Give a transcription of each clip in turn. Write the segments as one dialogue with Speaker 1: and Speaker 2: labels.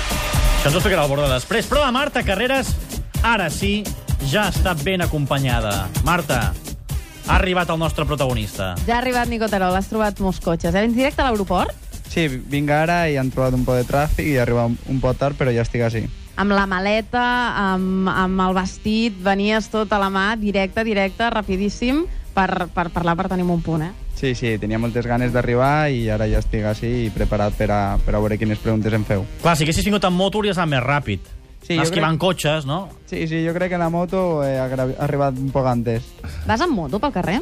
Speaker 1: Això ens ho explicarà el Borda després. Però la Marta Carreras, ara sí, ja està ben acompanyada. Marta, ha arribat el nostre protagonista.
Speaker 2: Ja ha arribat Nico Terol, has trobat molts cotxes. Eh? Vens directe a l'aeroport?
Speaker 3: Sí, vinc ara i han trobat un poc de tràfic i arriba un, un poc tard, però ja estic així.
Speaker 2: Amb la maleta, amb, amb el vestit, venies tot a la mà, directe, directe, rapidíssim, per, per parlar, per tenir un punt, eh?
Speaker 3: Sí, sí, tenia moltes ganes d'arribar i ara ja estic així i preparat per a, per a veure quines preguntes em feu.
Speaker 1: Clar, si haguessis vingut amb moto hauries anat més ràpid.
Speaker 3: Sí,
Speaker 1: Sí,
Speaker 3: jo
Speaker 1: Esquivant crec... cotxes, no?
Speaker 3: Sí, sí, jo crec que la moto he agra- arribat un poc antes.
Speaker 2: Vas amb moto pel carrer?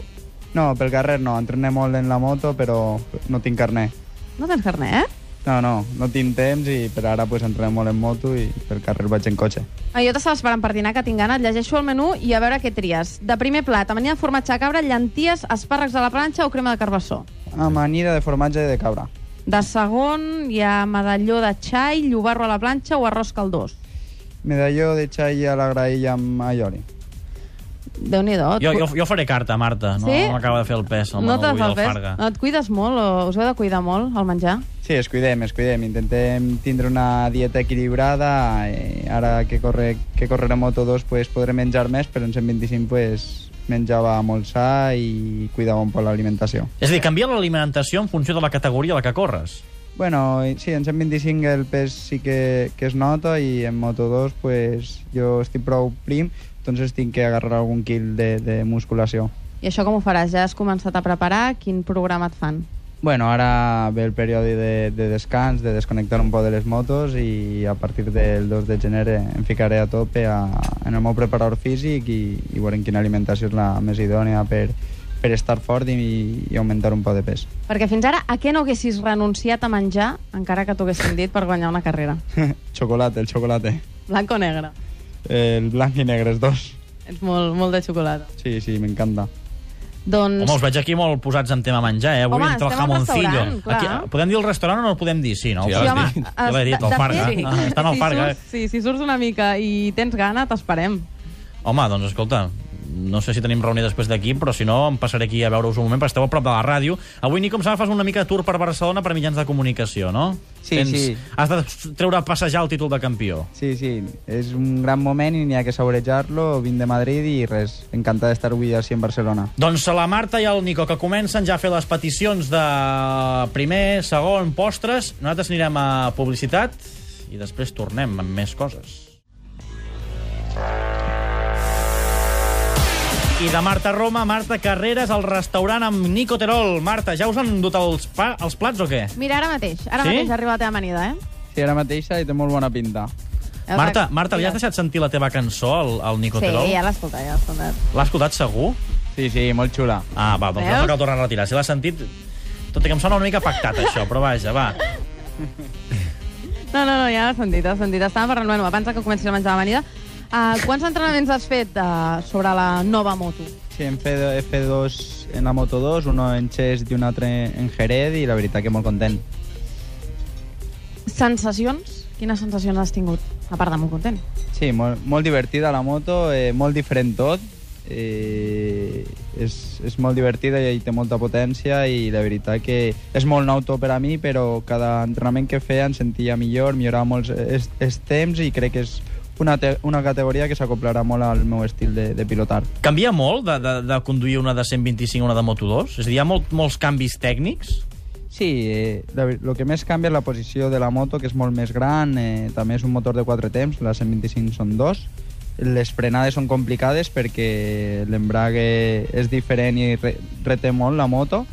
Speaker 3: No, pel carrer no, entrené molt en la moto, però no tinc carnet.
Speaker 2: No tens carnet, eh?
Speaker 3: No, no, no tinc temps i per ara pues, entrené molt en moto i pel carrer vaig en cotxe.
Speaker 2: Ah, Jo t'estava esperant per dinar, que tinc gana. Et llegeixo el menú i a veure què tries. De primer plat, amanida de formatge de cabra, llenties, espàrrecs a la planxa o crema de carbassó.
Speaker 3: Amanida de formatge de cabra.
Speaker 2: De segon, hi ha medalló de xai, llobarro a la planxa o arròs caldós.
Speaker 3: Medalló de xai a la graella amb aioli.
Speaker 2: Déu-n'hi-do.
Speaker 1: Jo, jo, jo faré carta, Marta. No,
Speaker 2: Sí?
Speaker 1: no m'acaba de fer el pes. El
Speaker 2: no
Speaker 1: Manel
Speaker 2: te fa
Speaker 1: Guida
Speaker 2: el pes.
Speaker 1: Alfarga.
Speaker 2: No, et cuides molt o us heu de cuidar molt al menjar?
Speaker 3: Sí, es cuidem, es cuidem. Intentem tindre una dieta equilibrada. eh, Ara que, corre, que correrà Moto 2 pues, podré menjar més, però en 125 pues, menjava molt sa i cuidava un poc l'alimentació.
Speaker 1: És a dir, canvia l'alimentació en funció de la categoria a la que corres.
Speaker 3: Bueno, i sí, en 125 el pes sí que, que es nota i en Moto2 pues, jo estic prou prim, doncs tinc que agarrar algun quil de, de musculació.
Speaker 2: I això com ho faràs? Ja has començat a preparar? Quin programa et fan?
Speaker 3: Bueno, ara ve el període de, de descans, de desconnectar un poc de les motos i a partir del 2 de gener em ficaré a tope a, en el meu preparador físic i, i veurem quina alimentació és la més idònea per, per estar fort i, i augmentar un poc de pes.
Speaker 2: Perquè fins ara, a què no haguessis renunciat a menjar encara que t'ho haguessin dit per guanyar una carrera?
Speaker 3: Xocolate, el xocolate.
Speaker 2: Blanc o negre?
Speaker 3: El blanc i negre, els dos.
Speaker 2: Ets molt, molt de xocolata.
Speaker 3: Sí, sí, m'encanta.
Speaker 2: Doncs...
Speaker 1: Home, us veig aquí molt posats en tema menjar, eh? Avui
Speaker 2: Home,
Speaker 1: entre el
Speaker 2: estem al
Speaker 1: jamoncillo.
Speaker 2: restaurant, clar.
Speaker 1: Aquí, podem dir el restaurant o no el podem dir? Sí, no?
Speaker 4: Sí, ja
Speaker 1: Ho
Speaker 4: l'has
Speaker 1: podem
Speaker 4: dit.
Speaker 1: dir. Ja l'he dit,
Speaker 2: de- de
Speaker 1: l'Alfarga.
Speaker 2: fet,
Speaker 1: Ah, està en Alfarga.
Speaker 2: Si surts, sí, si surts una mica i tens gana, t'esperem.
Speaker 1: Home, doncs escolta, no sé si tenim reunió després d'aquí, però si no em passaré aquí a veure-us un moment, perquè esteu a prop de la ràdio. Avui, Nico, em sembla que fas una mica de tour per Barcelona per mitjans de comunicació, no?
Speaker 3: Sí, sí.
Speaker 1: Has de treure a passejar el títol de campió.
Speaker 3: Sí, sí, és un gran moment i n'hi ha que saborejar-lo. Vinc de Madrid i res, encantat d'estar avui així en Barcelona.
Speaker 1: Doncs la Marta i el Nico, que comencen ja a fer les peticions de primer, segon, postres. Nosaltres anirem a publicitat i després tornem amb més coses. I de Marta Roma, Marta Carreras, al restaurant amb Nico Terol. Marta, ja us han dut els, pa els plats o què?
Speaker 2: Mira, ara mateix. Ara
Speaker 1: Sí?
Speaker 2: mateix arriba la teva amanida, eh?
Speaker 3: Sí, ara mateixa i té molt bona pinta.
Speaker 2: Ja
Speaker 1: Marta,
Speaker 2: t'ha-
Speaker 1: Marta, li has deixat sentir la teva cançó al, al Nico
Speaker 2: Sí,
Speaker 1: Terol?
Speaker 2: ja l'ha escoltat, ja l'ha escoltat.
Speaker 1: L'ha escoltat segur?
Speaker 3: Sí, sí, molt xula.
Speaker 1: Ah, va, doncs
Speaker 2: Veus?
Speaker 1: no cal tornar a retirar. Si l'has sentit... Tot i que em sona una mica pactat, això, però vaja, va.
Speaker 2: No, no, no, ja l'ha sentit, ja l'ha sentit. Estàvem parlant, bueno, abans que comenci a menjar l'amanida. Uh, quants entrenaments has fet uh, sobre la nova moto?
Speaker 3: Sí, hem fet, he fet dos en la Moto2, un en Xest i un altre en Jerez, i la veritat que molt content.
Speaker 2: Sensacions? Quines sensacions has tingut? A part de molt content.
Speaker 3: Sí, molt, molt divertida la moto, eh, molt diferent tot, eh, és, és molt divertida i té molta potència i la veritat que és molt nou tot per a mi, però cada entrenament que feia em sentia millor, millorava molts els, els temps i crec que és una, te- una categoria que s'acoplarà molt al meu estil de, de pilotar.
Speaker 1: Canvia molt de, de, de conduir una de 125 a una de Moto2? És a dir, hi ha molt, molts canvis tècnics?
Speaker 3: Sí, eh, la ver- lo que més canvia és la posició de la moto, que és molt més gran, eh, també és un motor de quatre temps, la 125 són dos, les frenades són complicades perquè l'embrague és diferent i re reté molt la moto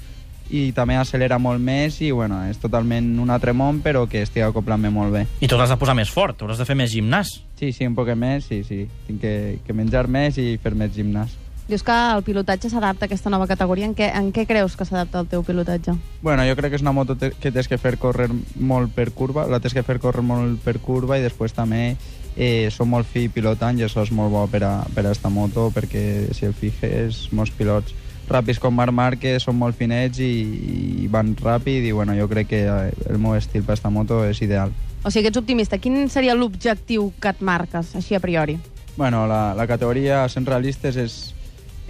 Speaker 3: i també accelera molt més i bueno, és totalment un altre món però que estic acoplant-me molt bé.
Speaker 1: I tu l'has de posar més fort, hauràs de fer més gimnàs.
Speaker 3: Sí, sí, un poc més, sí, sí. Tinc que, que menjar més i fer més gimnàs.
Speaker 2: Dius que el pilotatge s'adapta a aquesta nova categoria. En què, en què creus que s'adapta el teu pilotatge?
Speaker 3: Bueno, jo crec que és una moto te- que tens que fer córrer molt per curva, la tens que fer córrer molt per curva i després també eh, som molt fi pilotant i això és molt bo per a, per a esta moto perquè si el fijes, molts pilots ràpids com Marc Márquez són molt finets i, i van ràpid i bueno, jo crec que eh, el meu estil per a esta moto és ideal.
Speaker 2: O sigui, que ets optimista. Quin seria l'objectiu que et marques, així a priori?
Speaker 3: Bueno, la, la categoria sent realistes és,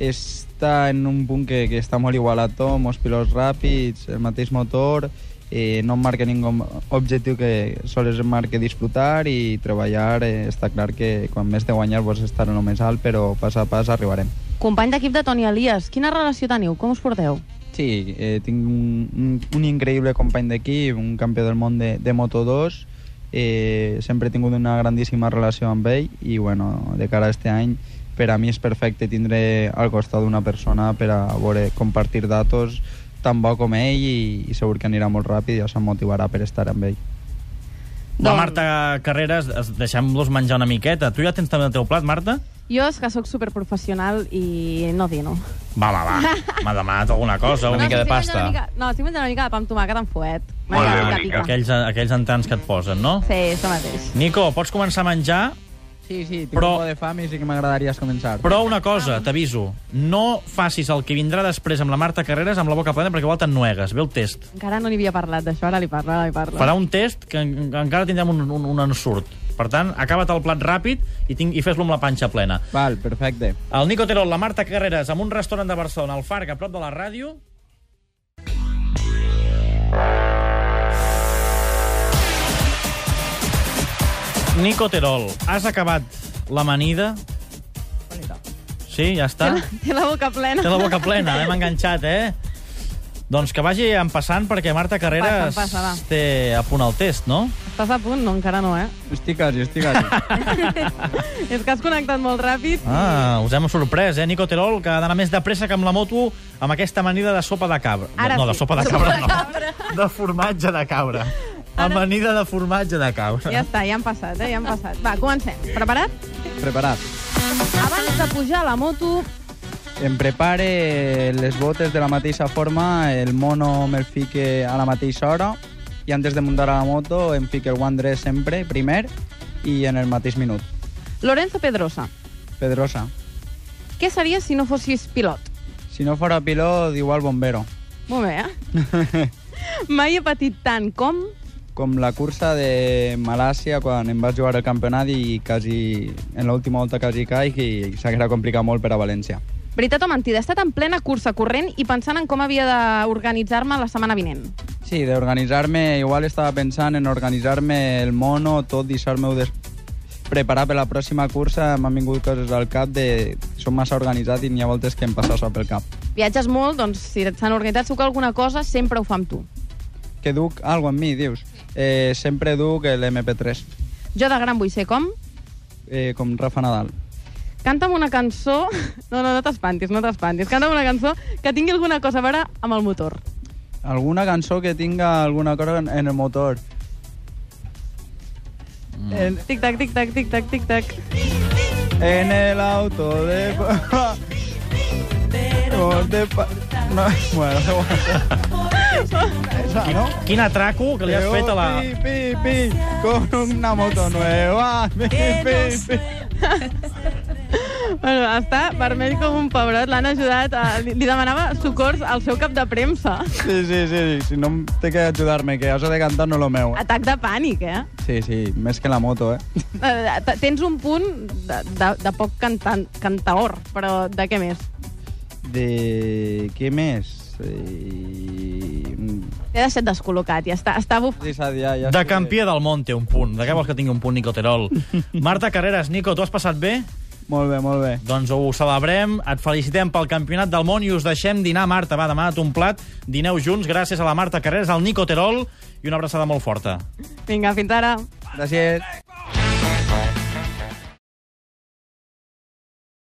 Speaker 3: està en un punt que, que està molt igualat tot, molts pilots ràpids, el mateix motor eh, no em marca ningú objectiu que sols em marca disfrutar i treballar. Eh, està clar que quan més de guanyar vols estar en el més alt, però pas a pas arribarem.
Speaker 2: Company d'equip de Toni Elias, quina relació teniu? Com us porteu?
Speaker 3: Sí, eh, tinc un, un, un increïble company d'equip, un campió del món de, de Moto2, eh, sempre he tingut una grandíssima relació amb ell i bueno, de cara a este any per a mi és perfecte tindre al costat d'una persona per a veure, compartir datos tan bo com ell i, i segur que anirà molt ràpid i ja se'm motivarà per estar amb ell.
Speaker 4: Doncs-
Speaker 1: La Marta Carreras, es- deixem-los menjar una miqueta. Tu ja tens també el teu plat, Marta?
Speaker 2: Jo és que sóc superprofessional i no dino.
Speaker 1: Va, va, va. M'ha demanat alguna cosa.
Speaker 4: Una
Speaker 1: un-
Speaker 4: mica de
Speaker 2: estic menjant
Speaker 4: pasta.
Speaker 2: Una mica, no, estic menjant una mica de pa amb tomàquet amb fuet.
Speaker 4: Molt bé,
Speaker 2: M'agrada
Speaker 4: una
Speaker 2: que
Speaker 4: mica.
Speaker 2: pica.
Speaker 1: Aquells, aquells entants que et posen, no?
Speaker 2: Sí, això mateix.
Speaker 1: Nico, pots començar a menjar,
Speaker 3: Sí, sí, tinc
Speaker 1: Però-
Speaker 3: però... un poc de fam i sí que m'agradaria començar.
Speaker 1: però una cosa,
Speaker 4: Ah.
Speaker 1: t'aviso, no facis el que vindrà després amb la Marta Carreras amb la boca plena perquè igual t'ennuegues. Ve el test.
Speaker 2: Encara no n'hi havia parlat d'això, ara li parlo, ara li parlo.
Speaker 1: Farà un test que en, en- encara tindrem un, un, un ensurt. Per tant, acaba't el plat ràpid i, tinc- i fes-lo amb la panxa plena.
Speaker 3: Val, perfecte.
Speaker 1: El Nico Terol, la Marta Carreras, amb un restaurant de Barcelona, al Farc, a prop de la ràdio. Nico Terol, has acabat l'amanida? Sí, ja
Speaker 2: Té
Speaker 1: està.
Speaker 2: la, té la boca plena.
Speaker 1: Té la boca plena, l'hem enganxat, eh? Doncs que vagi en passant, perquè Marta Carreras
Speaker 2: Passa, passa, va.
Speaker 1: té a punt el test, no?
Speaker 2: Estàs a punt? No, encara no, eh?
Speaker 3: Estic quasi, estic quasi.
Speaker 2: és que has connectat molt ràpid.
Speaker 1: Ah, us hem sorprès, eh? Nico Terol, que ha d'anar més de pressa que amb la moto amb aquesta amanida de sopa de cabra.
Speaker 2: Ara
Speaker 1: no,
Speaker 2: sí.
Speaker 1: de sopa de
Speaker 2: Sopa
Speaker 1: cabra,
Speaker 2: de
Speaker 1: no. De formatge de cabra. Amanida de formatge de cabra.
Speaker 2: Ja està, ja han passat, eh? Ja han passat. Va, comencem. Preparat?
Speaker 3: Preparat.
Speaker 2: Abans de pujar a la moto,
Speaker 3: Em prepare les botes de la mateixa forma, el mono me'l fique a la mateixa hora i antes de muntar a la moto em fique el guandre sempre, primer, i en el mateix minut.
Speaker 2: Lorenzo Pedrosa.
Speaker 3: Pedrosa.
Speaker 2: Què seria si no fossis pilot?
Speaker 3: Si no fora pilot, igual bombero.
Speaker 2: Molt bé, eh? Mai he patit tant com...
Speaker 3: Com la cursa de Malàcia, quan em vas jugar el campionat i quasi, en l'última volta quasi caic i s'haguera complicat molt per a València.
Speaker 2: Veritat o mentida, he estat en plena cursa corrent i pensant en com havia d'organitzar-me la setmana vinent.
Speaker 3: Sí, d'organitzar-me, igual estava pensant en organitzar-me el mono, tot, deixar-me-ho des... preparar per la pròxima cursa, m'han vingut coses al cap de... Som massa organitzat i n'hi ha voltes que em passa això pel cap.
Speaker 2: Viatges molt, doncs si s'han organitzat segur que alguna cosa sempre ho fa amb tu.
Speaker 3: Que duc algo en mi, dius. Eh, sempre duc l'MP3,
Speaker 2: Jo de gran vull ser com...
Speaker 3: eh, com Rafa Nadal.
Speaker 2: Canta'm una cançó... No, no, no t'espantis, no t'espantis. Canta'm una cançó que tingui alguna cosa a veure amb el motor.
Speaker 3: Alguna cançó que tinga alguna cosa en, en el motor. En,
Speaker 2: Eh, Tic-tac, tic-tac, tic-tac, tic-tac.
Speaker 3: en el auto de... pa- Por de pa- No, bueno, Esa, ¿no?
Speaker 1: Quin atraco que li has fet a la...
Speaker 3: Pi, pi, pi, con una moto nueva. Pi, pi, pi.
Speaker 2: Bueno, està vermell com un pebrot. L'han ajudat. A... Li, li demanava socors al seu cap de premsa.
Speaker 3: Sí, sí, sí, sí. Si no em té que ajudar-me, que això de cantar no lo meu. eh?
Speaker 2: Atac de pànic, eh?
Speaker 3: Sí, sí, més que la moto, eh?
Speaker 2: Eh, t- Tens un punt de, de, de poc cantant, cantaor, però de què més?
Speaker 3: De... què més? Mm, I...
Speaker 2: T'he deixat descol·locat i està, està buf...
Speaker 3: Sí, Sadia, ja
Speaker 1: De
Speaker 3: sé.
Speaker 1: campió del món té un punt. De què vols que tingui un punt Nico Terol? Marta Carreras, Nico, tu has passat bé?
Speaker 3: Molt bé, molt bé.
Speaker 1: Doncs ho celebrem, et felicitem pel Campionat del Món i us deixem dinar, Marta. Va, demana't un plat, dineu junts, gràcies a la Marta Carreras, al Nico Terol i una abraçada molt forta.
Speaker 2: Vinga, fins ara.
Speaker 3: Gràcies.